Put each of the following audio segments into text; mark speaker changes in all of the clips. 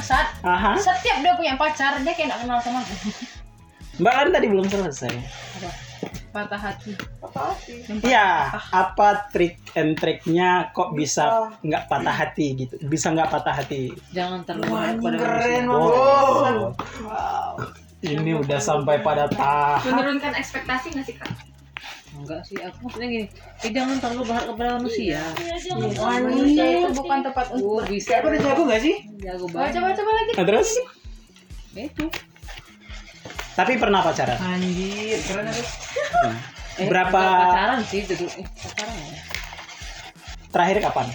Speaker 1: Aha.
Speaker 2: Setiap dia punya pacar, dia kayak gak kenal sama aku.
Speaker 1: Mbak kan tadi belum selesai.
Speaker 2: Apa? Patah hati.
Speaker 3: Apa sih?
Speaker 2: Yang patah-
Speaker 1: Ya, apa trik and triknya kok bisa
Speaker 3: Oh.
Speaker 1: nggak patah hati gitu? Bisa nggak patah hati?
Speaker 2: Jangan
Speaker 3: Wah,
Speaker 2: terlalu
Speaker 3: ini
Speaker 2: pada
Speaker 3: keren banget.
Speaker 2: manusia.
Speaker 1: Wow.
Speaker 3: Wow.
Speaker 1: Ini udah sampai pada tahap.
Speaker 4: Menurunkan ekspektasi nggak sih kak?
Speaker 2: Enggak sih, aku maksudnya gini. Eh, jangan terlalu berharap kepada manusia.
Speaker 3: Wah,
Speaker 2: Manusia
Speaker 3: ini bukan tempat untuk.
Speaker 2: Oh,
Speaker 3: Kayak
Speaker 2: bisa.
Speaker 3: aku udah jago gak sih?
Speaker 2: Jago
Speaker 3: Coba
Speaker 2: banget.
Speaker 3: coba coba lagi.
Speaker 1: Nah, terus?
Speaker 2: Ya, Itu.
Speaker 1: Tapi pernah pacaran?
Speaker 3: Anjir, keren aku.
Speaker 2: Eh,
Speaker 1: Berapa-
Speaker 2: enggak pacaran sih dulu? Eh, pacaran ya?
Speaker 1: Terakhir kapan?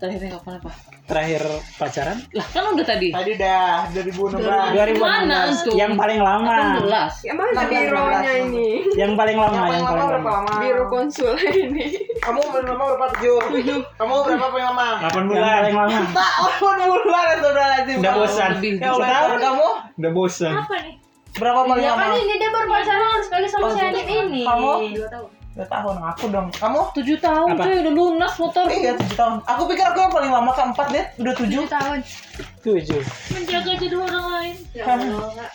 Speaker 2: Terakhir kapan apa?
Speaker 1: Terakhir pacaran?
Speaker 2: Lah, kan udah tadi.
Speaker 3: Tadi dah 2016.
Speaker 1: 2016.
Speaker 2: Mana antum?
Speaker 1: Yang paling lama.
Speaker 2: 18.
Speaker 4: Ya mana bironya ini?
Speaker 1: Yang paling lama,
Speaker 3: Yang paling lama berapa lama?
Speaker 4: Biro konsul ini.
Speaker 3: Kamu paling lama berapa? Tujuh. Kamu berapa paling lama?
Speaker 1: 8 bulan. Yang paling lama.
Speaker 3: Tak, walaupun bulan astagfirullahaladzim.
Speaker 1: Udah bosan.
Speaker 2: Lebih.
Speaker 3: Ya Allah, tahun kamu
Speaker 1: Udah bosan.
Speaker 4: Apa nih?
Speaker 3: berapa paling
Speaker 4: Ya
Speaker 3: lama?
Speaker 4: kan ini dia baru pacaran sekali sama si Adit ini.
Speaker 3: Kamu?
Speaker 4: Dua tahun.
Speaker 3: Dua tahun aku dong. Kamu?
Speaker 2: 7 tahun
Speaker 1: Apa?
Speaker 2: cuy udah lunas motor.
Speaker 3: Iya, tujuh tahun. Aku pikir aku yang paling lama keempat deh. Udah tujuh.
Speaker 2: Tujuh tahun.
Speaker 1: 7.
Speaker 4: Menjaga jadwal orang lain.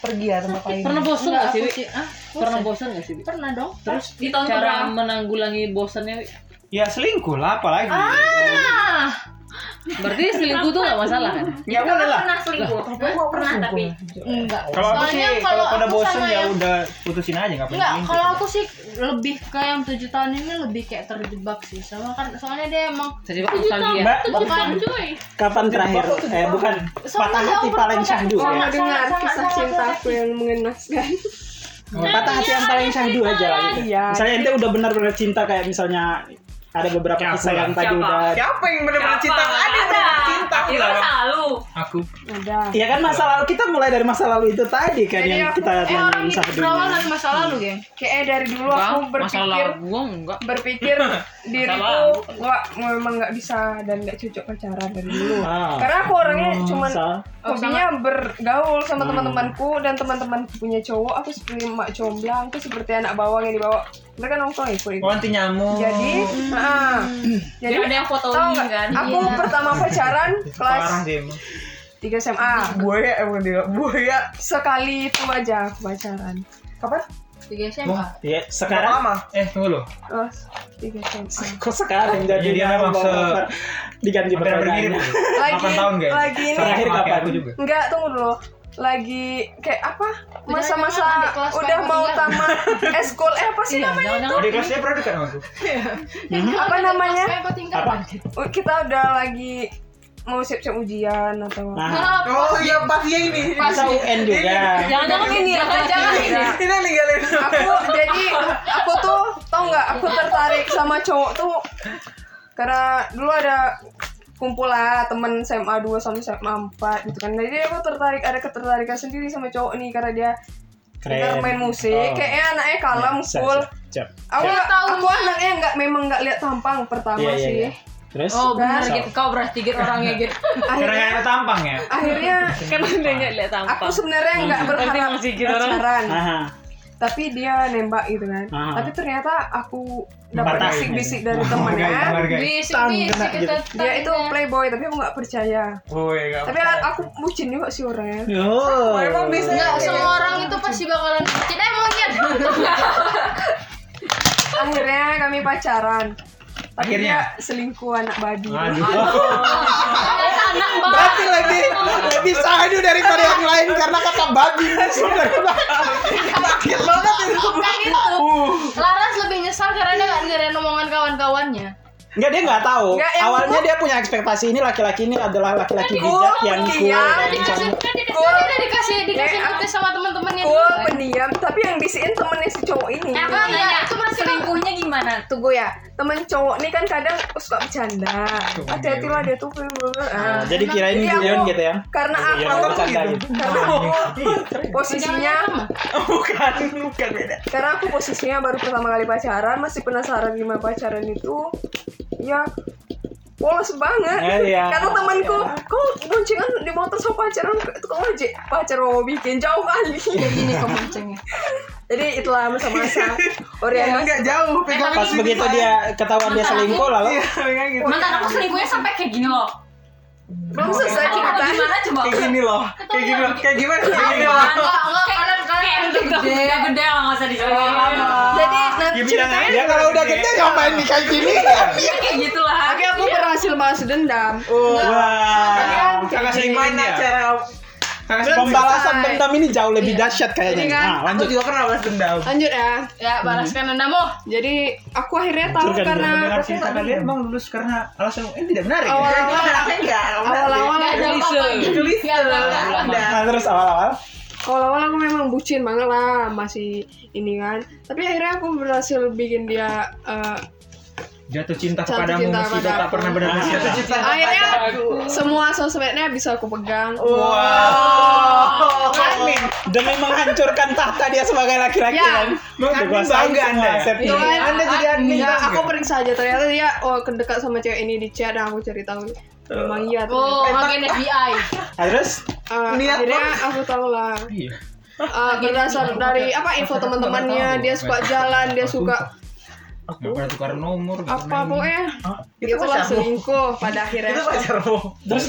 Speaker 3: Pergi ya tempat lain.
Speaker 2: Pernah bosen
Speaker 4: Enggak
Speaker 2: gak sih?
Speaker 4: aku
Speaker 2: Wi?
Speaker 4: sih. Ah,
Speaker 2: Pernah bosen gak sih? Wi?
Speaker 4: pernah dong.
Speaker 2: Terus
Speaker 4: Di tahun
Speaker 2: cara
Speaker 4: keberapa?
Speaker 2: menanggulangi bosannya Wi?
Speaker 5: Ya selingkuh lah apalagi.
Speaker 4: Ah,
Speaker 2: berarti selingkuh tuh gak masalah kan?
Speaker 3: Ya
Speaker 4: Kakak
Speaker 3: boleh lah.
Speaker 4: Pernah selingkuh.
Speaker 3: Tapi aku
Speaker 4: Pernah
Speaker 3: selingkuh.
Speaker 4: tapi enggak.
Speaker 5: Kalau aku sih
Speaker 4: Soalnya
Speaker 5: kalau
Speaker 4: kalau
Speaker 5: pada
Speaker 4: aku
Speaker 5: bosen
Speaker 4: sama
Speaker 5: ya
Speaker 4: yang-
Speaker 5: udah putusin aja nggak
Speaker 4: Enggak,
Speaker 5: penting.
Speaker 4: kalau aku sih lebih ke yang tujuh tahun ini lebih kayak terjebak sih. Soalnya kan soalnya dia emang
Speaker 2: Terjebak nostalgia.
Speaker 1: Mbak,
Speaker 4: bukan cuy.
Speaker 1: kapan terakhir? Eh, bukan. Patah hati paling syahdu.
Speaker 4: Sama
Speaker 1: ya.
Speaker 6: dengar
Speaker 4: sama-
Speaker 6: kisah
Speaker 4: sama-
Speaker 6: cintaku yang mengenaskan.
Speaker 1: Patah hati yang paling syahdu aja lah gitu.
Speaker 4: ya.
Speaker 6: Iya.
Speaker 1: Misalnya ente udah benar-benar cinta kayak misalnya ada beberapa
Speaker 5: Siapa
Speaker 1: kisah
Speaker 5: lah?
Speaker 1: yang tadi
Speaker 4: Siapa?
Speaker 1: udah
Speaker 3: Siapa yang benar-benar cinta? Ada yang benar
Speaker 2: Iya,
Speaker 3: cinta.
Speaker 4: Itu kan selalu.
Speaker 5: Aku
Speaker 6: Udah.
Speaker 1: Iya kan masa lalu kita mulai dari masa lalu itu tadi kan yang kita
Speaker 6: eh orang
Speaker 1: temuin
Speaker 6: hidup
Speaker 1: sahdunya.
Speaker 6: berawal dari masa lalu, geng. Kayak eh, dari dulu aku
Speaker 2: Bang,
Speaker 6: berpikir
Speaker 2: masalah gua enggak.
Speaker 6: berpikir diriku gua memang nggak bisa dan nggak cocok pacaran dari dulu.
Speaker 1: Ah.
Speaker 6: Karena aku orangnya cuman
Speaker 1: Masa-
Speaker 6: hobinya bergaul sama teman-temanku dan teman-temanku punya cowok, aku seperti emak comblang, aku seperti anak bawang yang dibawa. Mereka nongkrong ikut
Speaker 3: Oh.
Speaker 6: ikut.
Speaker 5: wanti nyamuk.
Speaker 6: Jadi, ah, jadi
Speaker 4: Ada yang foto
Speaker 6: tau
Speaker 4: ini
Speaker 6: nggak?
Speaker 4: kan.
Speaker 6: Aku pertama pacaran kelas
Speaker 5: parah sih emang.
Speaker 6: 3 SMA.
Speaker 3: Buaya emang dia. Buaya.
Speaker 6: Sekali itu aja aku pacaran. Kapan?
Speaker 4: Tiga SMA.
Speaker 5: Wah,
Speaker 1: Ya,
Speaker 3: Berapa
Speaker 1: sekarang
Speaker 3: lama?
Speaker 5: eh tunggu loh.
Speaker 6: Oh, 3 SMA.
Speaker 1: kok sekarang jadi
Speaker 5: Jadi dia memang se-
Speaker 1: diganti
Speaker 5: Hampir hampir mirip.
Speaker 1: pertanyaannya.
Speaker 6: Lagi-
Speaker 5: 8 tahun kayaknya.
Speaker 6: lagi ini.
Speaker 5: Sama
Speaker 1: Terakhir
Speaker 5: kayak
Speaker 1: kapan?
Speaker 5: Aku juga.
Speaker 6: Enggak, tunggu dulu. Lagi kayak apa? Masa-masa
Speaker 4: jangan adik kelas
Speaker 6: udah
Speaker 4: kamu
Speaker 6: mau
Speaker 4: tinggal.
Speaker 6: tamat eskul eh apa sih
Speaker 2: Iya,
Speaker 6: namanya?
Speaker 3: Oh,
Speaker 2: jangan-jangan
Speaker 5: Jadi kelasnya pernah dekat sama aku.
Speaker 6: Apa namanya?
Speaker 4: Apa tinggal?
Speaker 1: Apa?
Speaker 6: U- Kita udah lagi mau siap-siap ujian atau apa?
Speaker 1: Nah,
Speaker 4: Apa?
Speaker 3: Oh iya pasti yang ini.
Speaker 1: masa UN juga.
Speaker 2: jangan-jangan ini, jangan-jangan ini.
Speaker 6: Nah,
Speaker 3: Ini ninggalin.
Speaker 6: aku jadi aku tuh tau nggak aku tertarik sama cowok tuh karena dulu ada kumpul lah temen SMA 2 sama SMA 4 gitu kan jadi aku tertarik ada ketertarikan sendiri sama cowok nih karena dia pintar main musik
Speaker 1: Oh.
Speaker 6: kayaknya anaknya kalem
Speaker 1: Siap,
Speaker 6: cool
Speaker 1: siap, siap.
Speaker 6: aku
Speaker 4: Siap. Tahu.
Speaker 6: aku anaknya nggak memang nggak lihat tampang pertama
Speaker 1: Iya, iya,
Speaker 6: sih
Speaker 1: iya. Terus
Speaker 4: Oh benar
Speaker 1: Siap.
Speaker 4: gitu. Kau berarti gitu orangnya gitu.
Speaker 5: Karena
Speaker 6: akhirnya
Speaker 5: ada tampang ya.
Speaker 6: akhirnya
Speaker 2: Kan udah enggak lihat
Speaker 6: aku sebenarnya nggak berharap
Speaker 2: masih gitu orang.
Speaker 6: pacaran
Speaker 1: Aha.
Speaker 6: tapi dia nembak gitu kan
Speaker 1: Ah.
Speaker 6: tapi ternyata aku dapat
Speaker 1: Menghargai.
Speaker 6: bisik-bisik dari
Speaker 5: Hargai,
Speaker 6: temennya
Speaker 5: hargai.
Speaker 4: Bisik
Speaker 1: Tang, kena
Speaker 4: bisik
Speaker 1: gitu.
Speaker 4: kita.
Speaker 6: dia itu playboy tapi aku nggak percaya
Speaker 5: Woi, enggak.
Speaker 6: tapi aku bucin juga sih orangnya
Speaker 1: Oh.
Speaker 3: Emang biasanya
Speaker 4: Enggak,
Speaker 6: gitu.
Speaker 4: semua orang itu pasti bakalan bucin. Eh, monyet.
Speaker 6: akhirnya kami pacaran tapi
Speaker 5: Akhirnya?
Speaker 6: dia selingkuh anak babi
Speaker 5: Aduh.
Speaker 4: Ternyata anak banget.
Speaker 3: berarti lebih lebih sahdu daripada yang lain karena kata babi sebenarnya. Sakit banget itu.
Speaker 4: Kayak gitu. Laras lebih nyesal karena dia gak dengerin omongan kawan-kawannya.
Speaker 1: Enggak dia nggak tahu.
Speaker 6: Nggak, yang
Speaker 1: Awalnya dia punya ekspektasi ini laki-laki ini adalah laki-laki bijak yang cool.
Speaker 6: iya.
Speaker 1: dan
Speaker 4: Dikasih,
Speaker 1: cantik.
Speaker 4: kan dikasih,
Speaker 6: Gua-
Speaker 4: kan dikasih, dikasih
Speaker 6: Eh, aku-
Speaker 4: notis sama temen-temennya.
Speaker 6: cool pendiam tapi yang bisikin temennya si cowok ini
Speaker 4: Eh, aku nanya, itu berarti selingkuhnya gimana?
Speaker 6: tunggu ya temen cowok nih kan kadang suka bercanda hati-hati
Speaker 1: ya.
Speaker 6: lah dia tuh
Speaker 1: Nah,
Speaker 6: Ah.
Speaker 1: jadi kirain
Speaker 6: Jadi aku-
Speaker 1: guyon gitu ya.
Speaker 6: karena aku,
Speaker 1: Guyon bercanda
Speaker 3: gitu.
Speaker 1: gitu.
Speaker 6: karena aku posisinya
Speaker 3: Bukan, bukan beda.
Speaker 6: karena aku posisinya baru pertama kali pacaran masih penasaran gimana pacaran itu ya polos banget
Speaker 1: Eh, iya.
Speaker 6: karena temanku kau boncengan di motor sama pacaran itu kau aja pacar mau bikin jauh kali
Speaker 4: Ini kemancingnya.
Speaker 6: jadi itulah masa-masa orientasi
Speaker 3: Enggak jauh, pegang
Speaker 1: Pas begitu dia ketahuan dia selingkuh lalu
Speaker 3: Iya, pegang gitu.
Speaker 4: Mantan aku selingkuhnya sampai kayak gini loh.
Speaker 6: belum selesai cerita
Speaker 2: gimana coba?
Speaker 7: Kayak gini loh. Kayak gini loh. Kayak gimana? Kayak gini loh.
Speaker 4: Enggak, enggak, kalian kalian udah gede.
Speaker 2: Gak gede lah nggak usah dijelasin.
Speaker 6: jadi nanti
Speaker 3: Ya bilang
Speaker 6: ceritanya
Speaker 3: aja
Speaker 7: Ya kalau udah gede ngapain nih kayak gini?
Speaker 2: Ya kayak gitulah.
Speaker 6: tapi aku berhasil balas dendam
Speaker 7: Oh, wah.
Speaker 3: Kakak saya
Speaker 7: Gimana
Speaker 3: ya?
Speaker 7: cara
Speaker 3: Kakak saya
Speaker 1: Pembalasan
Speaker 6: selesai.
Speaker 1: dendam ini jauh lebih dahsyat
Speaker 6: Ini
Speaker 1: kayaknya.
Speaker 6: kan,
Speaker 1: Nah,
Speaker 3: Aku
Speaker 1: lanjut.
Speaker 3: juga pernah balas dendam.
Speaker 6: lanjut ya
Speaker 4: Ya, balaskan dendamu.
Speaker 6: jadi aku akhirnya tahu
Speaker 1: Hancurkan
Speaker 6: karena
Speaker 3: Mendengar cerita kalian emang lulus karena alasan ini tidak menarik. ya?
Speaker 7: Iya.
Speaker 6: awal-awal
Speaker 7: enggak?
Speaker 6: awal-awal
Speaker 4: ada apa-apa. Nggak ada apa-apa.
Speaker 1: Nah, terus awal-awal.
Speaker 6: awal-awal aku memang bucin banget lah masih ini kan tapi akhirnya aku berhasil bikin dia eh,
Speaker 3: Jatuh cinta
Speaker 6: Jatuh
Speaker 3: kepadamu
Speaker 6: cinta
Speaker 3: meski
Speaker 6: kepadaku.
Speaker 3: tak pernah benar-benar jatuh cinta.
Speaker 6: akhirnya semua sosmednya bisa aku pegang
Speaker 7: Wow.
Speaker 1: Demi menghancurkan tahta dia sebagai laki-laki
Speaker 6: Ya.
Speaker 1: kan. Dikuasain
Speaker 7: bangga Anda
Speaker 1: semua
Speaker 7: ya?
Speaker 1: asetnya.
Speaker 6: Itu kan,
Speaker 7: Anda jadi
Speaker 6: ah,
Speaker 7: admin
Speaker 6: iya,
Speaker 7: bangga.
Speaker 6: aku periksa aja ternyata dia oh kedekat sama cewek ini di chat dan aku cari tahu memang iya ternyata.
Speaker 4: Oh, makin FBI.
Speaker 1: Nah, terus
Speaker 6: Eh,
Speaker 7: niat
Speaker 6: akhirnya aku tahu lah
Speaker 3: Iya.
Speaker 6: Eh, berdasar dari apa info teman-temannya dia suka jalan dia suka
Speaker 3: Gak pernah tukar nomor. nggak
Speaker 6: apa
Speaker 3: pernah ini.
Speaker 6: pokoknya
Speaker 7: Itu
Speaker 6: itu lah
Speaker 7: pacarmu.
Speaker 6: selingkuh pada
Speaker 7: Itu
Speaker 6: akhirnya
Speaker 7: pacarmu.
Speaker 1: terus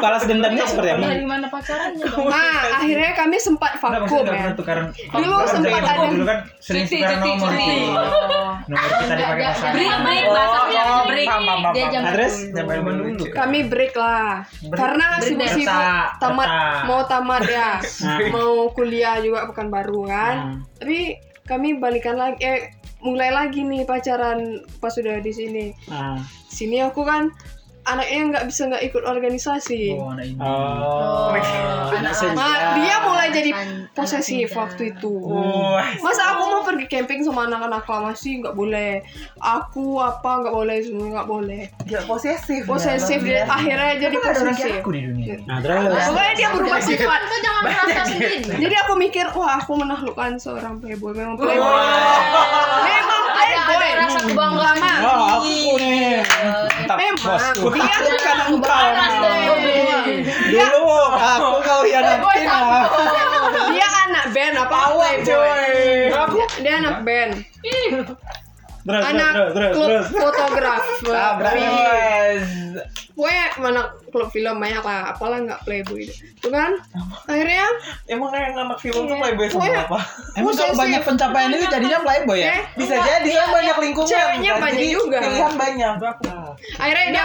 Speaker 1: balas dendamnya seperti apa? Nah,
Speaker 4: Dari mana pacarannya dong?
Speaker 6: nah akhirnya kami sempat
Speaker 3: Nggak,
Speaker 6: vakum
Speaker 3: maksudnya nggak
Speaker 6: ya
Speaker 3: pernah tukaran.
Speaker 6: Dulu
Speaker 3: Bahkan
Speaker 6: sempat
Speaker 3: zaman
Speaker 6: ada-
Speaker 3: Dulu kan sering
Speaker 2: Cuti,
Speaker 3: tukaran
Speaker 2: cuti,
Speaker 3: nomor. gitu.
Speaker 2: cuti.
Speaker 3: Nomor kita dipakai
Speaker 4: Nggak,
Speaker 3: pasangan.
Speaker 2: Break, break,
Speaker 7: Oh,
Speaker 2: bahasa dia
Speaker 7: oh,
Speaker 2: break.
Speaker 7: paham, paham, paham,
Speaker 2: Dia
Speaker 7: paham.
Speaker 2: jam
Speaker 1: Nah, terus
Speaker 3: Sampai zaman dulu.
Speaker 6: kami break lah karena
Speaker 2: Break dance.
Speaker 6: sibuk-sibuk
Speaker 3: Kerta,
Speaker 6: tamat
Speaker 3: kerta.
Speaker 6: mau tamat ya
Speaker 1: Nah.
Speaker 6: mau kuliah juga bukan baru kan tapi kami balikan lagi eh mulai lagi nih pacaran pas sudah di sini
Speaker 1: Nah.
Speaker 6: sini aku kan anaknya nggak bisa nggak ikut organisasi
Speaker 3: Oh, anak ini.
Speaker 1: Oh, anak
Speaker 6: Nah, dia mulai jadi
Speaker 4: Anak
Speaker 6: posesif
Speaker 4: muda.
Speaker 6: waktu itu
Speaker 5: Oh.
Speaker 7: Wah.
Speaker 6: masa aku mau pergi camping sama anak-anak kelas sih nggak boleh aku apa nggak boleh semua nggak boleh
Speaker 7: Dia posesif.
Speaker 6: posesif dia Oh, akhirnya jadi
Speaker 3: Ada orang kayak
Speaker 6: posesif
Speaker 3: aku di dunia ini.
Speaker 1: Nah, terus
Speaker 6: pokoknya dia berubah sifat
Speaker 4: Itu jangan merasa sendiri.
Speaker 6: jadi aku mikir wah aku menaklukkan seorang playboy memang playboy memang
Speaker 4: Ada ada
Speaker 6: playboy
Speaker 4: rasa kebanggaan.
Speaker 6: lama
Speaker 1: Oh, aku nih. Mantap,
Speaker 6: Memang.
Speaker 1: bosku.
Speaker 6: Dia-
Speaker 1: Takutkan engkau.
Speaker 4: Panas deh.
Speaker 1: Dulu aku kau ya, hianatin lah.
Speaker 6: dia anak band apa
Speaker 1: Awal,
Speaker 6: playboy
Speaker 1: coy.
Speaker 6: dia, dia anak band
Speaker 1: Terus,
Speaker 6: anak
Speaker 1: terus, terus,
Speaker 6: klub
Speaker 1: terus.
Speaker 6: fotografer
Speaker 1: Sabar.
Speaker 6: pokoknya anak klub film banyak lah apalah nggak playboy itu kan akhirnya oh,
Speaker 7: Emang yang anak film tuh playboy sama
Speaker 6: Pokoknya-
Speaker 7: apa?
Speaker 1: Iya. Emang kalau
Speaker 6: Posesif.
Speaker 1: banyak pencapaian itu jadinya playboy ya?
Speaker 6: eh,
Speaker 7: Bisa jadi kan banyak lingkungan.
Speaker 6: Ceweknya
Speaker 7: kan?
Speaker 6: banyak
Speaker 7: Jadi
Speaker 6: juga.
Speaker 7: Pilihan banyak.
Speaker 6: akhirnya dia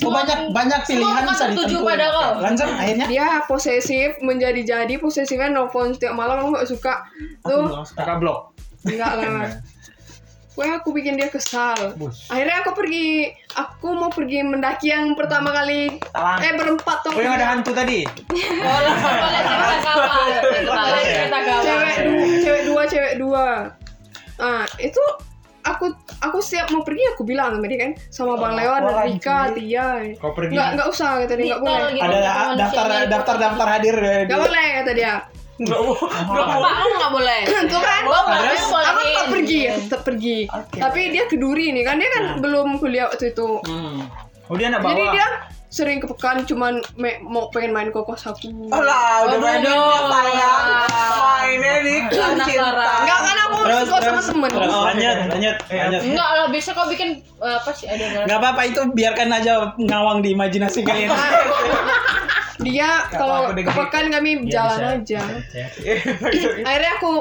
Speaker 1: Oh, banyak banyak pilihan
Speaker 4: semua
Speaker 1: bisa
Speaker 4: tertuju
Speaker 1: ditentuin.
Speaker 4: pada kau.
Speaker 1: Lanjut akhirnya.
Speaker 6: dia posesif menjadi-jadi posesifnya nelfon setiap malam aku nggak suka tuh
Speaker 3: Kakak blok.
Speaker 6: enggak lah Wah, aku bikin dia kesal.
Speaker 3: Bus.
Speaker 6: Akhirnya aku pergi, aku mau pergi mendaki yang pertama kali. Eh berempat tuh.
Speaker 3: Oh yang Hmm. ada hantu tadi.
Speaker 4: Boleh cerita kawan. Boleh cerita kawan.
Speaker 6: cewek dua, cewek dua, cewek dua. Nah, itu aku aku siap mau pergi aku bilang sama dia kan sama Bang Lewan, Rika, Tia.
Speaker 3: Oh, Kau pergi.
Speaker 6: Enggak enggak usah kata dia enggak boleh.
Speaker 1: Ada daftar daftar daftar hadir eh, di
Speaker 6: Enggak boleh kata dia.
Speaker 4: Bapak lu nggak boleh.
Speaker 6: Itu kan
Speaker 4: Bapak lu
Speaker 6: Terus
Speaker 4: boleh.
Speaker 6: aku tetap pergi, tetap pergi. Tapi dia keduri nih kan dia kan belum kuliah waktu itu.
Speaker 3: Oh dia anak bawah.
Speaker 6: Jadi dia sering ke pekan cuman me- mau pengen main kokos aku.
Speaker 3: Oh.
Speaker 7: Alah,
Speaker 1: Oh,
Speaker 7: udah main di sayang. Mainnya di cinta.
Speaker 6: Enggak kan aku suka sama temen. Iya.
Speaker 1: Terus, Oh, lanjut, Iya. lanjut, lanjut.
Speaker 4: Enggak lah, biasa kau bikin eh, apa sih ada
Speaker 1: Gak apa-apa itu biarkan aja ngawang di imajinasi
Speaker 6: Iya.
Speaker 1: kalian.
Speaker 6: Dia kalau
Speaker 7: aku
Speaker 6: ke
Speaker 7: dengerin.
Speaker 6: pekan kami
Speaker 3: Iya,
Speaker 6: jalan
Speaker 3: bisa.
Speaker 6: aja.
Speaker 3: Saya-
Speaker 6: Akhirnya aku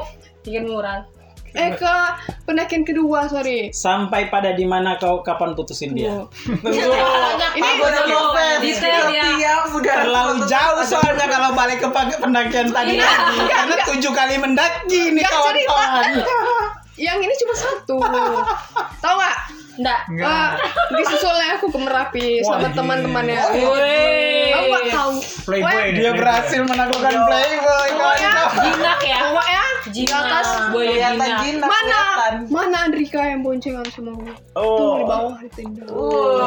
Speaker 4: bikin murah.
Speaker 6: eh ke pendakian kedua sorry.
Speaker 1: Sampai pada dimana kau kapan putusin dia?
Speaker 6: Tuh.
Speaker 4: Banyak
Speaker 6: Ini
Speaker 7: Aku udah mau fans.
Speaker 2: Detail ya.
Speaker 7: Tiap udah
Speaker 1: Terlalu jauh soalnya kalau balik ke pag-
Speaker 6: Iya,
Speaker 1: pendakian tadi lagi. Karena tujuh kali mendaki nih
Speaker 6: Nggak
Speaker 1: kawan-kawan.
Speaker 6: yang ini cuma satu. Tahu gak?
Speaker 4: enggak.
Speaker 6: Eh, disusulnya aku ke Merapi sama
Speaker 3: Wah,
Speaker 6: teman-temannya.
Speaker 4: Woi.
Speaker 6: Aku gak tahu.
Speaker 3: Playboy
Speaker 6: Wah,
Speaker 3: ini,
Speaker 1: Dia
Speaker 3: playboy.
Speaker 1: berhasil menaklukkan
Speaker 6: Iya.
Speaker 1: playboy kawan-kawan.
Speaker 4: Jinak ya.
Speaker 6: Pokoknya di
Speaker 4: Jinak.
Speaker 6: atas
Speaker 4: Buaya
Speaker 7: kelihatan
Speaker 4: jinak.
Speaker 7: jinak.
Speaker 6: mana
Speaker 7: kelihatan.
Speaker 6: mana Andrika yang boncengan sama gue? Tuh
Speaker 7: Oh.
Speaker 6: di bawah ditinju.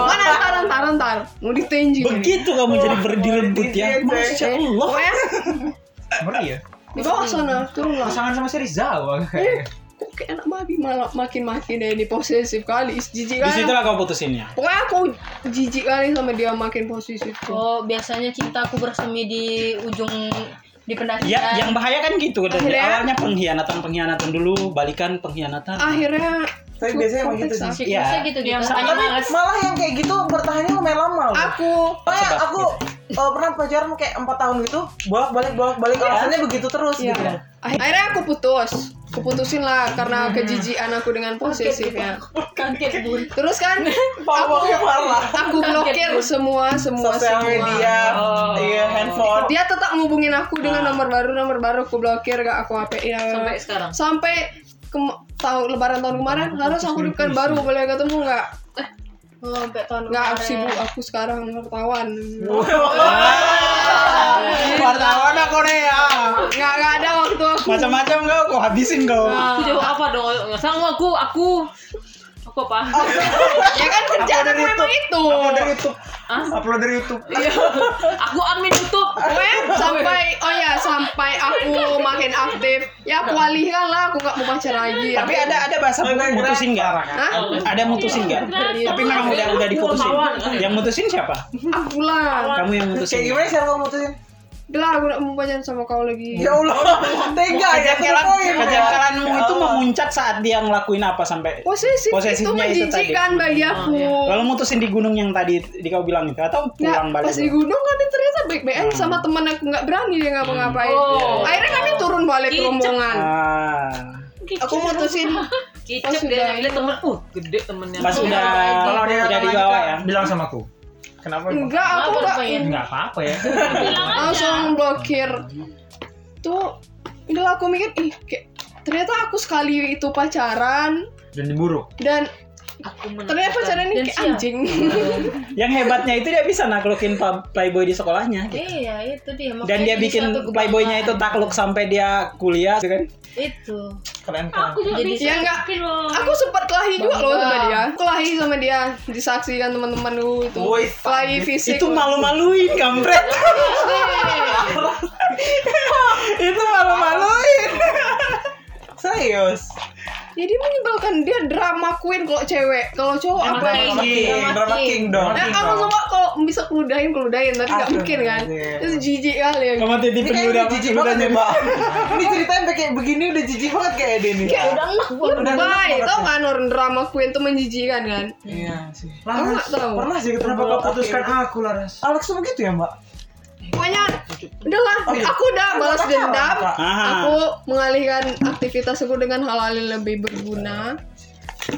Speaker 6: Mana entar entar entar mau ditinju.
Speaker 1: Begitu kamu jadi berdirebut ya. Masya Allah.
Speaker 6: Pokoknya
Speaker 3: Ngeri ya.
Speaker 6: Eh, oh ya? di bawah sana turunlah. Eh,
Speaker 3: Pasangan sama si Rizal.
Speaker 6: Kok kayak anak babi malah makin-makin dia ini posesif kali, is jijik
Speaker 1: Di
Speaker 6: kali.
Speaker 1: situlah kau putusinnya.
Speaker 6: Pokoknya aku jijik kali sama dia makin posesif. tuh.
Speaker 4: Oh, biasanya cintaku bersemi di ujung di pendakian.
Speaker 1: Ya, yang bahaya kan gitu dari
Speaker 6: Iya. Akhirnya- Ah.
Speaker 1: awalnya pengkhianatan pengkhianatan dulu, balikan pengkhianatan.
Speaker 6: Akhirnya
Speaker 3: Tapi biasanya emang gitu sih.
Speaker 4: Sih,
Speaker 1: Iya.
Speaker 4: biasanya gitu-gitu. Oh,
Speaker 2: Yang
Speaker 4: Soalnya
Speaker 2: soalnya males.
Speaker 3: Malah yang kayak gitu bertahannya lumayan lama loh.
Speaker 1: Aku
Speaker 3: Makanya aku eh, pernah pacaran kayak 4 tahun gitu, bolak-balik bolak-balik alasannya begitu terus
Speaker 6: Iya.
Speaker 3: gitu.
Speaker 6: Akhirnya aku putus. Keputusin lah karena kejijian aku dengan posesifnya.
Speaker 2: Kaget bun.
Speaker 6: Terus kan aku,
Speaker 3: Pokoknya parah.
Speaker 6: aku blokir semua semua
Speaker 3: Sosial
Speaker 6: semua.
Speaker 3: media, Nah.
Speaker 2: Oh.
Speaker 3: iya handphone.
Speaker 6: Dia tetap ngubungin aku dengan nomor baru nomor baru aku blokir gak aku HP ya.
Speaker 2: Sampai sekarang.
Speaker 6: Sampai ke- tahu lebaran tahun kemarin
Speaker 3: Nah,
Speaker 6: harus aku dukkan baru boleh ketemu nggak?
Speaker 4: Oh, sampai tahun
Speaker 6: Nggak
Speaker 4: kemarin.
Speaker 6: sibuk aku sekarang wartawan.
Speaker 1: wartawan aku nih ya.
Speaker 6: Nggak nggak ada waktu aku.
Speaker 1: Macam-macam kau, kau habisin kau.
Speaker 6: Ah.
Speaker 2: Aku jawab apa dong? Sama aku, aku. Aku apa?
Speaker 6: ya kan kerjaan aku memang itu.
Speaker 3: Upload dari YouTube.
Speaker 2: Hah?
Speaker 3: Upload dari YouTube.
Speaker 2: Iya. Aku admin YouTube.
Speaker 6: Gue ya, sampai oh ya sampai aku makin aktif ya aku alihkan lah aku nggak mau pacar lagi
Speaker 1: Tapi ada ada bahasa mutusin nggak?
Speaker 6: Ya, Hah?
Speaker 1: Ada mutusin nggak? Tapi memang udah udah diputusin.
Speaker 6: kan?
Speaker 1: Yang mutusin siapa?
Speaker 6: aku lah
Speaker 1: Kamu
Speaker 3: Kayak
Speaker 1: yang mutusin.
Speaker 3: gimana sih yang kamu mutusin?
Speaker 6: udah aku nggak mau pacaran sama kau lagi
Speaker 3: Ya Allah, tega ya. to the
Speaker 1: Kejangkalan
Speaker 3: point.
Speaker 1: kejangkalanmu itu memuncak saat dia ngelakuin apa sampai
Speaker 6: posesif, itu
Speaker 1: Posesifnya itu
Speaker 6: menjijikan bagi aku
Speaker 2: Iya.
Speaker 1: Lalu mutusin di gunung yang tadi di kau bilang itu atau
Speaker 6: Nggak,
Speaker 1: pulang balik? Hmm.
Speaker 6: pas di gunung kan dia ternyata baik-baik aja sama temen aku nggak berani dia ngapa-ngapain
Speaker 2: Oh.
Speaker 6: akhirnya kami turun balik ke
Speaker 2: Kicep.
Speaker 6: rombongan
Speaker 1: Ah.
Speaker 6: aku mutusin
Speaker 2: Kicep
Speaker 6: Pas
Speaker 2: dia
Speaker 6: udah-
Speaker 2: ngambil temen. Uh, gede temennya.
Speaker 1: Pas udah
Speaker 5: iya.
Speaker 3: Kalau dia
Speaker 1: udah
Speaker 3: datang
Speaker 1: di
Speaker 3: lagi,
Speaker 1: bawah
Speaker 3: Kak,
Speaker 1: ya.
Speaker 3: bilang sama aku. Kenapa? emang?
Speaker 6: enggak aku
Speaker 2: Apa
Speaker 6: nggak
Speaker 2: rupanya?
Speaker 3: Enggak apa-apa ya.
Speaker 6: langsung blokir tuh udah aku mikir ih kayak ternyata aku sekali itu pacaran
Speaker 3: Dan diburu.
Speaker 6: dan
Speaker 2: Aku
Speaker 6: ternyata
Speaker 2: menentukan.
Speaker 6: pacaran ini
Speaker 2: Dan
Speaker 6: kayak
Speaker 2: siap.
Speaker 6: anjing
Speaker 1: Yang hebatnya itu dia bisa naklukin pa- playboy di sekolahnya. gitu.
Speaker 4: Iya, itu dia.
Speaker 1: Dan
Speaker 4: Makanya
Speaker 1: dia
Speaker 4: jadi
Speaker 1: bikin
Speaker 4: suatu kebanggaan.
Speaker 1: playboynya itu takluk sampai dia kuliah, gitu kan?
Speaker 4: Itu.
Speaker 3: Keren keren.
Speaker 4: Jadi
Speaker 6: ya enggak
Speaker 2: Oh. Ah,
Speaker 6: aku sempat kelahi juga loh sama dia kelahi sama dia disaksikan teman-teman lu itu
Speaker 3: Woi,
Speaker 6: kelahi fisik
Speaker 1: Itu malu-maluin, kampret. itu malu-maluin.
Speaker 3: Serius.
Speaker 6: jadi menyebalkan dia drama queen kalau cewek kalau cowok apa ya
Speaker 3: Drama King, drama King dong.
Speaker 6: Nah, aku semua kalau bisa keludahin keludahin tapi nggak
Speaker 3: Aduh,
Speaker 6: mungkin kan
Speaker 3: iya.
Speaker 6: terus jijik kali ya
Speaker 1: Kamu
Speaker 3: Ini
Speaker 1: titipin
Speaker 3: kayaknya
Speaker 1: udah
Speaker 3: udah jijik banget ya, Mbak. Ini ceritanya sampai kayak begini udah jijik banget kayak dia nih.
Speaker 6: udah
Speaker 3: udah
Speaker 6: lebay
Speaker 3: enak
Speaker 6: tau kan orang drama queen tuh menjijikan kan
Speaker 3: Iya sih.
Speaker 6: Kamu
Speaker 3: Laras,
Speaker 6: nggak tahu?
Speaker 3: pernah sih ketemu
Speaker 7: Kenapa
Speaker 3: Mbak
Speaker 7: kau putuskan
Speaker 3: Oke.
Speaker 7: aku, Laras?
Speaker 3: Alex tuh begitu ya, Mbak?
Speaker 6: pokoknya udahlah
Speaker 3: Oh, iya.
Speaker 6: aku udah balas dendam
Speaker 3: Kak.
Speaker 1: Aha.
Speaker 6: aku mengalihkan aktivitas aku dengan hal-hal yang lebih berguna dan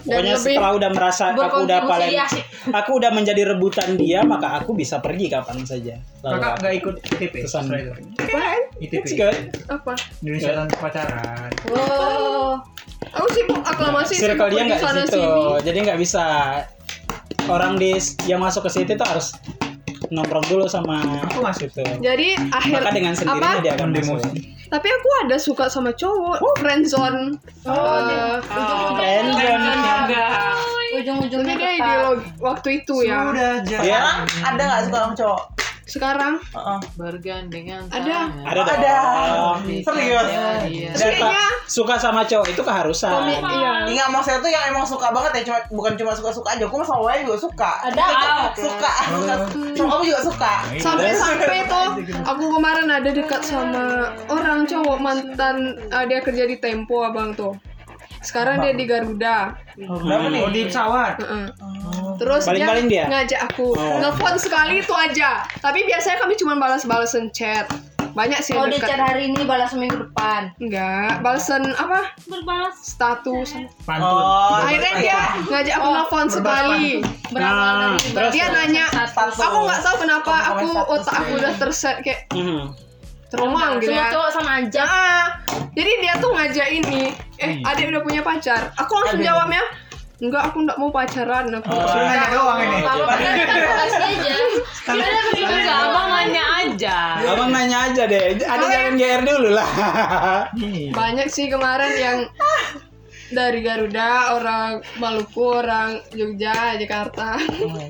Speaker 1: Pokoknya
Speaker 6: lebih
Speaker 1: setelah udah merasa aku udah
Speaker 2: Berkontribusi,
Speaker 1: paling
Speaker 2: iya sih.
Speaker 1: aku udah menjadi rebutan dia, maka aku bisa pergi kapan saja. Lalu
Speaker 3: Kakak nggak ikut ITP
Speaker 1: Kesan.
Speaker 3: setelah itu.
Speaker 6: Apaan?
Speaker 3: ITP.
Speaker 1: It's good.
Speaker 6: apa
Speaker 3: Indonesia tanpa pacaran.
Speaker 6: oh aku sibuk aklamasi
Speaker 1: circle
Speaker 6: sibuk
Speaker 1: dia
Speaker 6: di
Speaker 1: nggak di
Speaker 6: sana
Speaker 1: situ
Speaker 6: sini
Speaker 1: jadi nggak bisa orang di yang masuk ke situ tuh harus nongkrong dulu sama
Speaker 3: Aku masuk.
Speaker 1: gitu.
Speaker 6: jadi akhir
Speaker 1: maka dengan
Speaker 6: Iya. apa
Speaker 1: sendirinya dia akan
Speaker 3: Mendemo.
Speaker 1: masuk
Speaker 6: tapi aku ada suka sama cowok friendzone oh, Iya.
Speaker 1: Friendzone.
Speaker 4: Ujung-ujungnya
Speaker 6: Sebenarnya
Speaker 4: kita
Speaker 6: ideologi waktu itu ya.
Speaker 3: Sudah jadi.
Speaker 1: Ya.
Speaker 3: Sekarang ada nggak suka sama cowok?
Speaker 6: Sekarang
Speaker 3: Heeh.
Speaker 2: Bergandengan
Speaker 6: Ada.
Speaker 2: tangan.
Speaker 1: ada dong.
Speaker 3: Ada. Serius.
Speaker 2: Iya, iya.
Speaker 3: Dan
Speaker 6: kayaknya
Speaker 1: suka sama cowok itu keharusan
Speaker 6: komik iya.
Speaker 3: Enggak maksudnya tuh yang emang suka banget ya cuma bukan cuma suka-suka aja, aku sama Wayan juga suka.
Speaker 4: Ada.
Speaker 3: Suka. suka. Sama kamu juga suka.
Speaker 6: Sampai-sampai tuh aku kemarin ada dekat sama orang cowok mantan eh, dia kerja di Tempo abang tuh. Sekarang dia di Garuda.
Speaker 3: Berapa nih?
Speaker 7: Oh, di pesawat.
Speaker 6: Heeh. Terus
Speaker 1: Baling-baling dia?
Speaker 6: dia, ngajak aku nelfon sekali itu aja. Tapi biasanya kami cuma balas-balesan chat. Banyak sih
Speaker 4: Kalau
Speaker 6: yang
Speaker 4: Oh, di chat
Speaker 6: dekat.
Speaker 4: hari ini balas minggu depan.
Speaker 6: Enggak, balesan apa?
Speaker 2: Berbalas.
Speaker 6: Status.
Speaker 3: Pantun.
Speaker 7: Oh,
Speaker 6: Akhirnya
Speaker 3: iya.
Speaker 6: dia ngajak aku nelfon sekali.
Speaker 1: nah terus
Speaker 6: dia nanya
Speaker 3: Status.
Speaker 6: aku nggak tahu kenapa
Speaker 3: Komen-komen
Speaker 6: aku
Speaker 3: status
Speaker 6: otak aku udah terset kayak
Speaker 1: Mhm.
Speaker 6: trauma gitu
Speaker 4: Semua
Speaker 6: ya
Speaker 4: cowok sama aja.
Speaker 1: Iya,
Speaker 6: Ah, jadi dia tuh ngajak ini eh adik udah punya pacar aku langsung jawabnya enggak aku nggak mau pacaran Nah, aku nggak
Speaker 3: Sudah
Speaker 6: suka."
Speaker 3: nanya doang ini.
Speaker 4: Iya. kan aja.
Speaker 2: Gimana aku juga nggak, abang nanya aja.
Speaker 6: Iya.
Speaker 1: Abang nanya aja deh, ada jangan GR dulu lah.
Speaker 6: banyak sih kemarin yang dari Garuda orang Maluku orang Jogja Jakarta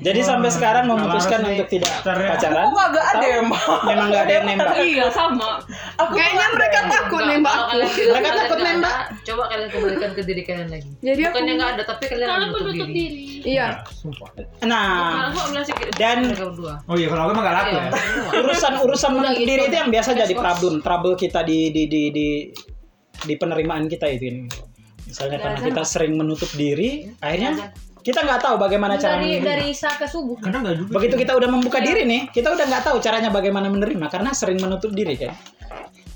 Speaker 1: Jadi sampai sekarang memutuskan
Speaker 3: Kalau harus
Speaker 1: untuk tidak
Speaker 3: teriak.
Speaker 1: pacaran.
Speaker 3: Aku kagak ada
Speaker 1: Atau
Speaker 3: ya, Mbak.
Speaker 1: Memang nggak ada yang nembak.
Speaker 2: Iya sama.
Speaker 3: Aku
Speaker 6: kayaknya mereka takut nembak
Speaker 2: Kalau kalian bilang
Speaker 6: aku
Speaker 1: Mereka
Speaker 2: kalian
Speaker 1: takut
Speaker 2: nggak
Speaker 1: nembak.
Speaker 2: ada, Coba kalian kembalikan ke diri kalian lagi.
Speaker 6: Jadi aku-
Speaker 2: bukannya nggak ada tapi kalian menutup diri.
Speaker 6: iya
Speaker 3: Sumpah.
Speaker 2: Kalau
Speaker 1: Nah,
Speaker 2: aku bilang sih gitu.
Speaker 1: Dan-
Speaker 2: Mereka berdua.
Speaker 3: Oh iya, kalau aku emang gak laku
Speaker 2: Iya,
Speaker 3: ya.
Speaker 2: semua.
Speaker 1: urusan-urusan
Speaker 4: Udah
Speaker 1: menutup
Speaker 4: gitu.
Speaker 1: diri itu yang biasa jadi
Speaker 4: Xbox.
Speaker 1: problem, trouble kita di di di di di penerimaan kita itu ini. Misalnya
Speaker 4: Ada
Speaker 1: karena
Speaker 4: azan
Speaker 1: kita sering menutup diri, akhirnya
Speaker 4: Ada.
Speaker 1: kita nggak tahu bagaimana cara
Speaker 4: dari
Speaker 1: menerima.
Speaker 4: dari Isa ke subuh
Speaker 1: Karena nggak juga. Begitu kita udah membuka
Speaker 4: Iya.
Speaker 1: diri nih, kita udah nggak tahu caranya bagaimana menerima karena sering menutup diri kan.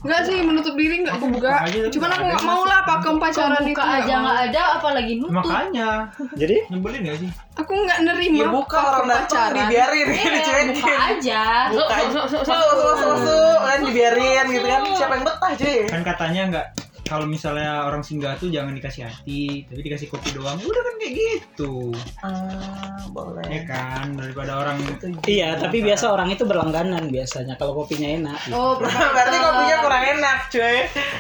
Speaker 6: Enggak sih menutup diri enggak aku buka. Cuman aku enggak mau lah pakem pacaran itu.
Speaker 4: buka
Speaker 6: nggak
Speaker 4: aja
Speaker 6: mau.
Speaker 4: nggak ada apalagi Iya, nutup
Speaker 5: Makanya
Speaker 1: Jadi
Speaker 5: nyebelin gak sih?
Speaker 6: Aku enggak nerima
Speaker 3: Ya buka
Speaker 6: pakem
Speaker 3: orang datang dibiarin
Speaker 4: Iya,
Speaker 3: dicuekin.
Speaker 4: buka aja
Speaker 2: Sok, sok, sok, sok.
Speaker 3: Masuk masuk masuk kan dibiarin gitu kan. Siapa yang betah cuy?
Speaker 5: Kan katanya nggak kalau misalnya orang singgah tuh jangan dikasih hati, tapi dikasih kopi doang. Udah kan kayak gitu.
Speaker 3: Ah,
Speaker 5: Ya
Speaker 3: boleh.
Speaker 5: kan daripada orang
Speaker 1: iya, tapi biasa orang itu berlangganan biasanya kalau kopinya enak.
Speaker 4: oh
Speaker 3: Berarti kopinya kurang enak cuy.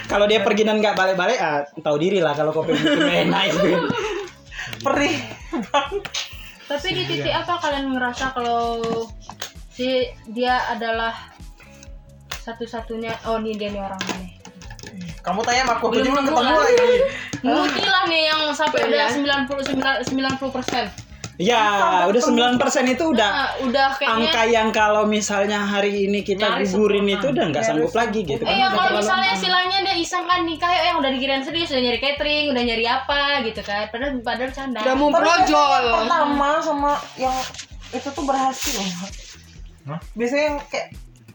Speaker 1: Kalau dia pergi dan nggak balik-balik, ah, tahu diri lah kalau kopi kopinya enak itu.
Speaker 3: Perih.
Speaker 4: tapi di titik apa kalian ngerasa kalau si dia adalah satu-satunya oh ini dia nih orang ini
Speaker 3: Kamu tanya sama aku aku aja
Speaker 4: Belum
Speaker 3: belum Oh, ketemu
Speaker 4: nemu,
Speaker 3: lagi. Iya.
Speaker 4: Muti lah nih yang sampai udah 90 90 persen. Nah,
Speaker 1: Ya, udah 9% itu
Speaker 3: Ah.
Speaker 1: udah
Speaker 4: udah kayaknya.
Speaker 1: angka yang kalau misalnya hari ini kita
Speaker 2: Nyaris
Speaker 1: gugurin
Speaker 2: sempurna.
Speaker 1: itu udah nggak sanggup lagi gitu
Speaker 4: Eh ya
Speaker 1: kan.
Speaker 4: kalau misalnya istilahnya dia iseng kan nikah ya yang udah dikirain serius udah nyari catering udah nyari apa gitu kan padahal padahal canda
Speaker 6: Udah mau brojol.
Speaker 3: Pertama sama yang itu tuh berhasil.
Speaker 5: Hah?
Speaker 3: Biasanya yang kayak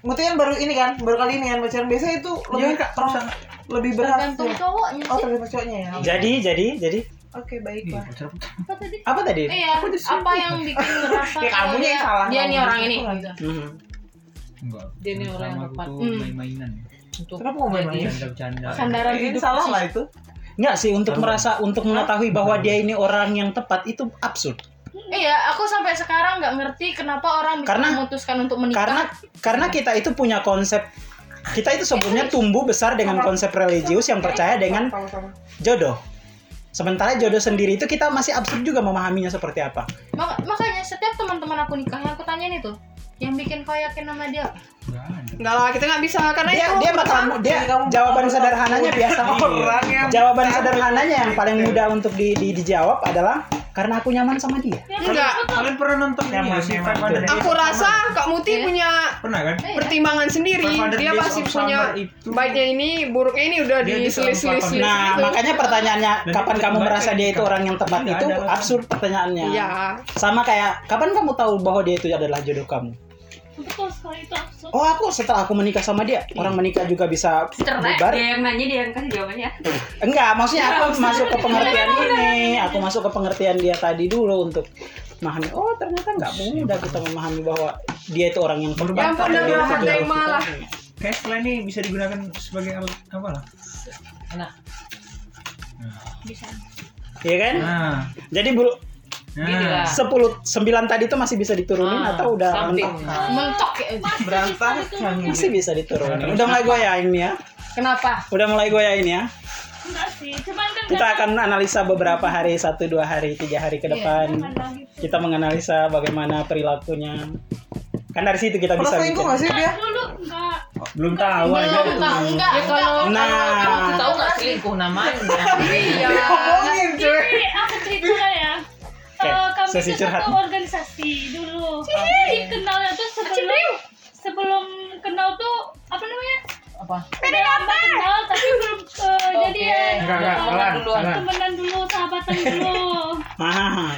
Speaker 3: Muti kan baru ini kan, baru kali ini kan pacaran. Biasanya itu lebih orang- lebih berhasil.
Speaker 4: tergantung cowoknya
Speaker 3: Oh,
Speaker 4: sih
Speaker 3: tergantung cowoknya ya.
Speaker 1: Jadi, jadi, jadi
Speaker 3: Oke, baik
Speaker 5: Ih,
Speaker 3: lah.
Speaker 5: pacar putus.
Speaker 4: apa tadi
Speaker 1: apa tadi?
Speaker 4: iya apa yang bikin ngerasa
Speaker 3: Ya,
Speaker 4: kalau
Speaker 3: kamunya
Speaker 4: dia,
Speaker 3: yang salah,
Speaker 4: dia nih
Speaker 3: kamunya
Speaker 4: orang
Speaker 3: yang
Speaker 4: ini
Speaker 3: salah.
Speaker 4: gitu.
Speaker 1: Hmm.
Speaker 5: Enggak.
Speaker 2: Dia nih orang yang
Speaker 5: Sama aku
Speaker 2: tepat.
Speaker 5: tuh
Speaker 4: Hmm.
Speaker 5: main-mainan. ya.
Speaker 2: Untuk
Speaker 3: Kenapa mau main main?
Speaker 5: Bercanda-bercanda.
Speaker 4: sandaran
Speaker 3: Ini
Speaker 4: hidup
Speaker 3: salah lah itu.
Speaker 1: Nggak sih untuk merasa untuk mengetahui bahwa dia ini orang yang tepat itu absurd.
Speaker 4: iya aku sampai sekarang nggak ngerti kenapa orang bisa
Speaker 1: Karena-
Speaker 4: memutuskan untuk menikah
Speaker 1: Karena karena kita itu punya konsep kita itu sebelumnya tumbuh besar dengan konsep religius yang percaya dengan jodoh. Sementara jodoh sendiri itu kita masih absurd juga memahaminya seperti apa.
Speaker 4: Mak- makanya setiap teman-teman aku nikah yang aku tanyain itu yang bikin kau yakin sama dia apa?
Speaker 5: Enggak ada.
Speaker 6: Enggak lah, kita enggak bisa karena
Speaker 1: Dia
Speaker 6: itu
Speaker 1: dia mata dia
Speaker 3: Jadi kamu
Speaker 1: jawaban
Speaker 3: bukan
Speaker 1: sederhananya biasa
Speaker 3: Orang yang
Speaker 1: Jawaban sederhananya yang paling mudah untuk di- di- dijawab adalah karena aku nyaman sama dia.
Speaker 6: enggak.
Speaker 5: Kalian pernah nonton ini
Speaker 1: Nyaman,
Speaker 5: ya, sih
Speaker 1: nyaman.
Speaker 5: Five Hundred Days?
Speaker 6: Aku rasa Kak Muti
Speaker 1: Iya.
Speaker 6: punya
Speaker 5: Pernah kan?
Speaker 6: pertimbangan sendiri.
Speaker 5: Five Hundred
Speaker 6: Dia
Speaker 5: Days
Speaker 6: pasti
Speaker 5: of
Speaker 6: punya
Speaker 5: Summer itu-
Speaker 6: baiknya ini, buruknya ini udah
Speaker 5: Dia di dalam
Speaker 6: diselis-selis.
Speaker 5: platform.
Speaker 1: Nah, makanya pertanyaannya
Speaker 5: Dan
Speaker 1: kapan
Speaker 5: itu
Speaker 1: kamu
Speaker 5: terbaik
Speaker 1: merasa
Speaker 5: yang
Speaker 1: dia itu
Speaker 5: dikatakan.
Speaker 1: orang yang tepat
Speaker 5: Nggak
Speaker 1: itu
Speaker 5: ada alasan.
Speaker 1: absurd pertanyaannya.
Speaker 6: Iya.
Speaker 1: Sama kayak kapan kamu tahu bahwa dia itu adalah jodoh kamu?
Speaker 2: Betul sekali itu Iya. absurd.
Speaker 1: Oh, aku setelah aku menikah sama dia. Orang menikah juga bisa bubar.
Speaker 2: Dia yang nanya dia yang kasih jawabannya.
Speaker 1: Enggak, maksudnya
Speaker 2: Iya,
Speaker 1: aku masuk ke pengertian ini. Aku masuk ke pengertian dia tadi dulu untuk memahami. Oh, ternyata nggak mudah kita memahami bahwa dia itu orang yang tepat.
Speaker 6: Yang pernah
Speaker 1: Dia itu
Speaker 6: melahat
Speaker 1: jodoh
Speaker 6: dari
Speaker 1: kita.
Speaker 6: malah.
Speaker 5: Kayak setelah ini bisa digunakan sebagai apa, apa lah?
Speaker 2: Nah,
Speaker 1: Iya kan?
Speaker 5: Nah,
Speaker 1: Jadi bulu
Speaker 2: gini lah.
Speaker 5: nah.
Speaker 1: 10 9 tadi itu masih bisa diturunin
Speaker 2: Ah,
Speaker 1: atau udah
Speaker 2: samping.
Speaker 1: mentok?
Speaker 4: mentok ya
Speaker 3: berantakan.
Speaker 1: Masih
Speaker 5: gitu.
Speaker 1: bisa diturunin. Udah mulai goyang ini ya.
Speaker 4: kenapa
Speaker 1: Udah mulai goyang ini ya.
Speaker 2: Enggak sih, cuman kan
Speaker 1: Kita akan analisa beberapa hari, satu dua hari, tiga hari ke depan. Kita menganalisa bagaimana perilakunya. Kan dari situ kita
Speaker 3: Pernah
Speaker 1: bisa.
Speaker 3: selingkuh
Speaker 1: bikin.
Speaker 3: nggak sih dia?
Speaker 2: dulu enggak.
Speaker 5: Belum tahu aja
Speaker 4: belum
Speaker 5: itu.
Speaker 4: enggak enggak enggak.
Speaker 2: Aku
Speaker 1: Nah,
Speaker 2: tahu enggak selingkuh namanya.
Speaker 6: Iya.
Speaker 3: Diomongin cuy.
Speaker 8: Ini eh, aku cerita ya.
Speaker 1: Oke,
Speaker 8: Eh, kami
Speaker 1: sesi
Speaker 8: itu
Speaker 1: curhat.
Speaker 8: satu organisasi dulu. Jadi kenalnya tuh sebelum sebelum kenal tuh apa namanya?
Speaker 2: Apa?
Speaker 8: Udah lama kenal tapi belum eh, jadian.
Speaker 5: Enggak, enggak, pelan,
Speaker 2: duluan.
Speaker 5: pelan.
Speaker 8: Temenan dulu, sahabatan dulu.
Speaker 1: ah,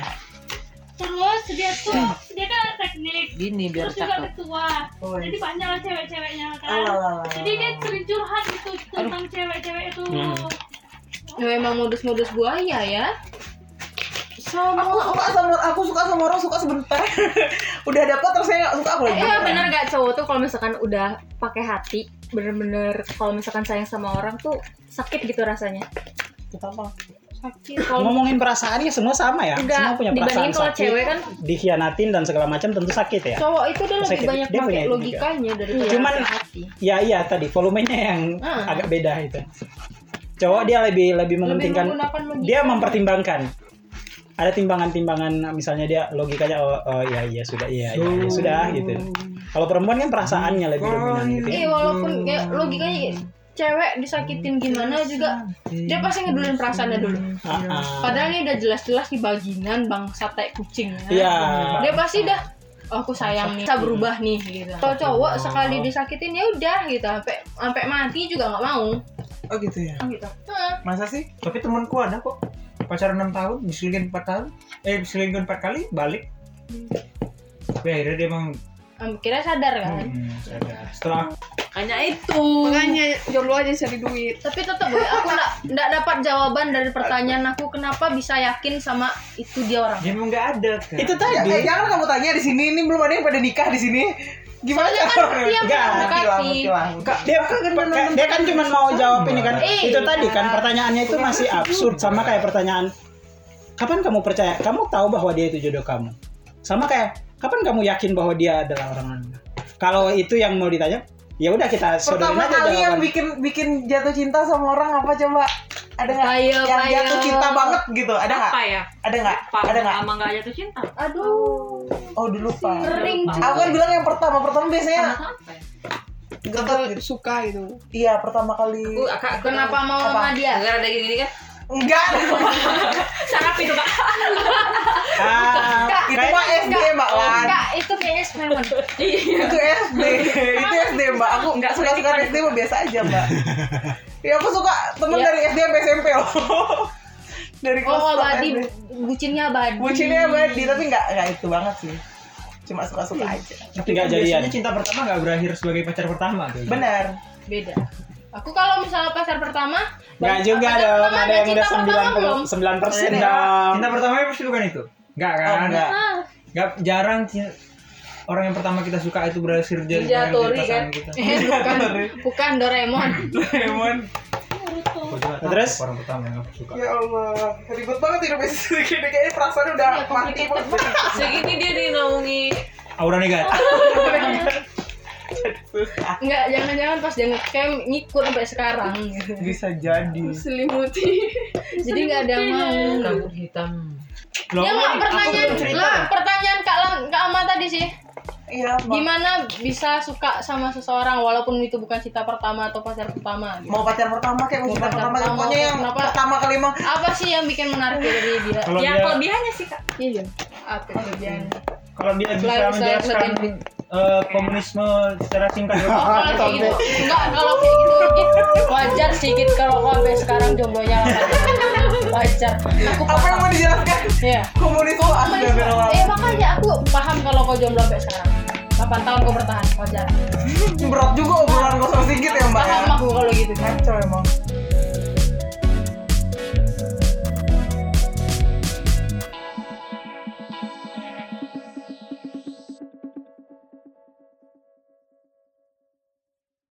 Speaker 8: Terus dia tuh
Speaker 1: Hmm.
Speaker 8: dia kan teknik.
Speaker 2: Gini biar
Speaker 8: Terus juga
Speaker 2: cakep. Oh, iya.
Speaker 8: ketua. Jadi banyak lah cewek-ceweknya kan.
Speaker 3: Alah.
Speaker 8: Jadi dia sering curhat gitu tentang cewek-cewek itu.
Speaker 1: Hmm.
Speaker 4: Ya, emang modus-modus buaya ya.
Speaker 3: Aku suka sama aku suka sama orang suka sebentar. Udah dapat terus saya nggak suka apa lagi.
Speaker 8: Iya bener gak cowok tuh kalau misalkan udah pakai hati bener-bener kalau misalkan sayang sama orang tuh sakit gitu rasanya sakit kalau
Speaker 1: ngomongin perasaannya semua sama ya. Semua
Speaker 8: enggak
Speaker 1: punya perasaan
Speaker 8: dibandingin kalau
Speaker 1: sakit.
Speaker 8: cewek kan
Speaker 1: Dikhianatin dan segala macam tentu sakit ya.
Speaker 4: Cowok itu dia lebih
Speaker 1: Sakit.
Speaker 4: banyak
Speaker 1: Dia punya
Speaker 4: pakai
Speaker 1: itu juga.
Speaker 4: logikanya daripada
Speaker 1: Cuman
Speaker 4: hati.
Speaker 1: Ya iya tadi volumenya yang
Speaker 4: Hmm.
Speaker 1: agak beda itu. Cowok dia lebih lebih mementingkan
Speaker 4: menggunakan logika.
Speaker 1: dia mempertimbangkan. Ada timbangan-timbangan misalnya dia logikanya oh, oh iya iya sudah iya iya, iya, sudah
Speaker 4: Oh.
Speaker 1: gitu. Kalau perempuan kan perasaannya lebih dominan gitu.
Speaker 4: Eh walaupun kayak logikanya gini, cewek disakitin gimana juga dia pasti ngedulin perasaannya dulu.
Speaker 1: Ah, ah.
Speaker 4: Padahal ini udah jelas-jelas di baginan bangsa tai kucing ya.
Speaker 1: Iya.
Speaker 4: Dia pasti dah oh, aku sayang nih, bisa berubah nih gitu. Kalau cowok sekali disakitin ya udah gitu, sampai sampai mati juga nggak mau.
Speaker 3: Oh gitu ya.
Speaker 4: Oh gitu.
Speaker 3: Masa sih?
Speaker 5: Tapi temanku ada kok pacaran 6 tahun, diselingkuhin 4 tahun, eh diselingkuhin 4 kali, balik.
Speaker 2: Hmm.
Speaker 5: Tapi akhirnya dia emang
Speaker 4: Em, Kira sadar kan?
Speaker 5: hmm, sadar. Setelah
Speaker 2: Makanya itu.
Speaker 6: Makanya jomblo aja cari duit.
Speaker 4: Tapi tetap gue, aku nggak nggak dapat jawaban dari pertanyaan aku kenapa bisa yakin sama itu dia orang.
Speaker 5: dia emang nggak ada kan.
Speaker 7: Itu
Speaker 3: Ya, eh,
Speaker 7: tadi.
Speaker 3: jangan kamu tanya di sini, ini belum ada yang pada nikah di sini. Gimana
Speaker 2: Iya
Speaker 3: ya?
Speaker 2: kan?
Speaker 4: Dia pernah mendekati.
Speaker 7: dia dia kan cuma mau jawab ini kan
Speaker 4: Iya.
Speaker 7: itu tadi kan pertanyaannya itu masih absurd sama kayak pertanyaan kapan kamu percaya kamu tahu bahwa dia itu jodoh kamu sama kayak kapan kamu yakin bahwa dia adalah orang Anda kalau itu yang mau ditanya ya udah kita sodorin
Speaker 3: Pertama
Speaker 7: aja
Speaker 3: kali yang
Speaker 7: jawaban
Speaker 3: bikin bikin jatuh cinta sama orang apa coba? Ada nggak?
Speaker 4: Ayo,
Speaker 3: Yang
Speaker 4: ayo.
Speaker 3: jatuh cinta banget gitu, ada nggak?
Speaker 2: Apa ya?
Speaker 3: Ada nggak?
Speaker 2: Apa?
Speaker 3: Ada nggak?
Speaker 2: Sama nggak jatuh cinta?
Speaker 4: Aduh,
Speaker 3: Oh, dulu pak.
Speaker 4: sering
Speaker 3: Aku kan bilang yang pertama, pertama biasanya
Speaker 2: Apa ya?
Speaker 3: getar gitu.
Speaker 6: Suka gitu.
Speaker 3: Iya, pertama kali.
Speaker 2: Kak,
Speaker 4: Kenapa mau
Speaker 3: Apa?
Speaker 4: sama dia?
Speaker 2: Gara-gara ada gini kan?
Speaker 3: Enggak,
Speaker 2: Sarap itu kak.
Speaker 7: ah,
Speaker 3: itu mah SD mbak Lan.
Speaker 4: Enggak, itu kayaknya semen.
Speaker 3: Itu SD, itu SD mbak. Aku nggak suka suka SD mah biasa aja mbak. Ya aku suka temen dari SD sampai SMP loh. Dari kelas satu
Speaker 4: Oh, abadi,
Speaker 3: SD.
Speaker 4: bucinnya abadi.
Speaker 3: Bucinnya abadi, tapi nggak nggak itu banget sih. Cuma suka-suka
Speaker 4: Iya.
Speaker 3: aja.
Speaker 7: tapi nggak jadian
Speaker 5: Biasanya cinta pertama nggak berakhir sebagai pacar pertama tuh.
Speaker 3: Benar.
Speaker 4: Beda. Aku kalau misalnya pacar pertama,
Speaker 7: nggak juga
Speaker 4: Pacar
Speaker 7: dong
Speaker 4: pertama
Speaker 7: ada yang
Speaker 4: cinta
Speaker 7: udah
Speaker 4: pertama belum?
Speaker 7: 99 persen
Speaker 5: Iya.
Speaker 3: Ada.
Speaker 7: dong
Speaker 5: Cinta pertamanya pasti bukan itu. Enggak kan?
Speaker 3: Oh, enggak.
Speaker 5: Nggak- jarang cin- orang yang pertama kita suka itu berhasil jadi
Speaker 6: Dijatuhi,
Speaker 5: jadi pasangan kita.
Speaker 4: Eh, bukan, bukan Doraemon.
Speaker 5: Aku juga tahu
Speaker 7: Terus?
Speaker 5: orang pertama yang aku suka.
Speaker 3: Ya Allah, ribet banget hidup istri gini kayaknya perasaan
Speaker 4: Iya,
Speaker 3: udah mati banget.
Speaker 2: Segini dia di naungi.
Speaker 5: Aura negatif.
Speaker 4: Enggak, jangan-jangan pas dia ngecamp ngikut sampai sekarang.
Speaker 3: Bisa jadi.
Speaker 6: Selimuti.
Speaker 4: Jadi nggak ada yang mau.
Speaker 2: Rambut hitam.
Speaker 5: Loh,
Speaker 4: Ya nggak
Speaker 5: aku
Speaker 4: pertanyaan
Speaker 5: belum cerita.
Speaker 4: lah, pertanyaan Kak Lan, Kak Ama tadi sih.
Speaker 3: Iya, mau,
Speaker 4: Gimana bisa suka sama seseorang walaupun itu bukan cinta pertama atau pacar pertama? gitu?
Speaker 3: mau pacar pertama kayak mau cinta
Speaker 4: pacar
Speaker 3: pertama,
Speaker 4: Iya, pertama,
Speaker 3: pokoknya yang
Speaker 4: kenapa? Iya,
Speaker 3: pertama kali emang
Speaker 4: Apa sih yang bikin menarik dari dia?
Speaker 5: Kalau
Speaker 2: Ya
Speaker 5: dia-
Speaker 2: kelebihannya sih kak.
Speaker 4: Iya. Apa kerjaan?
Speaker 5: kalau dia bisa
Speaker 4: Selain- selain
Speaker 5: menjelaskan Ah,
Speaker 4: lebih-
Speaker 5: eh, komunisme secara singkat
Speaker 4: Oh, kalau kayak gitu, enggak kalau kayak gitu lagi wajar sih gitu kalau aku sampai sekarang jomblonya lama. wajar. Aku
Speaker 3: apa yang mau dijelaskan?
Speaker 4: Iya.
Speaker 3: Komunis tuh agak berlawan.
Speaker 4: Eh makanya aku paham kalau kau jomblo sampai sekarang. 8 tahun kau bertahan, wajar.
Speaker 3: Berat juga obrolan kau sama Sigit ya mbak ya.
Speaker 4: Paham aku kalau gitu.
Speaker 3: Kacau emang.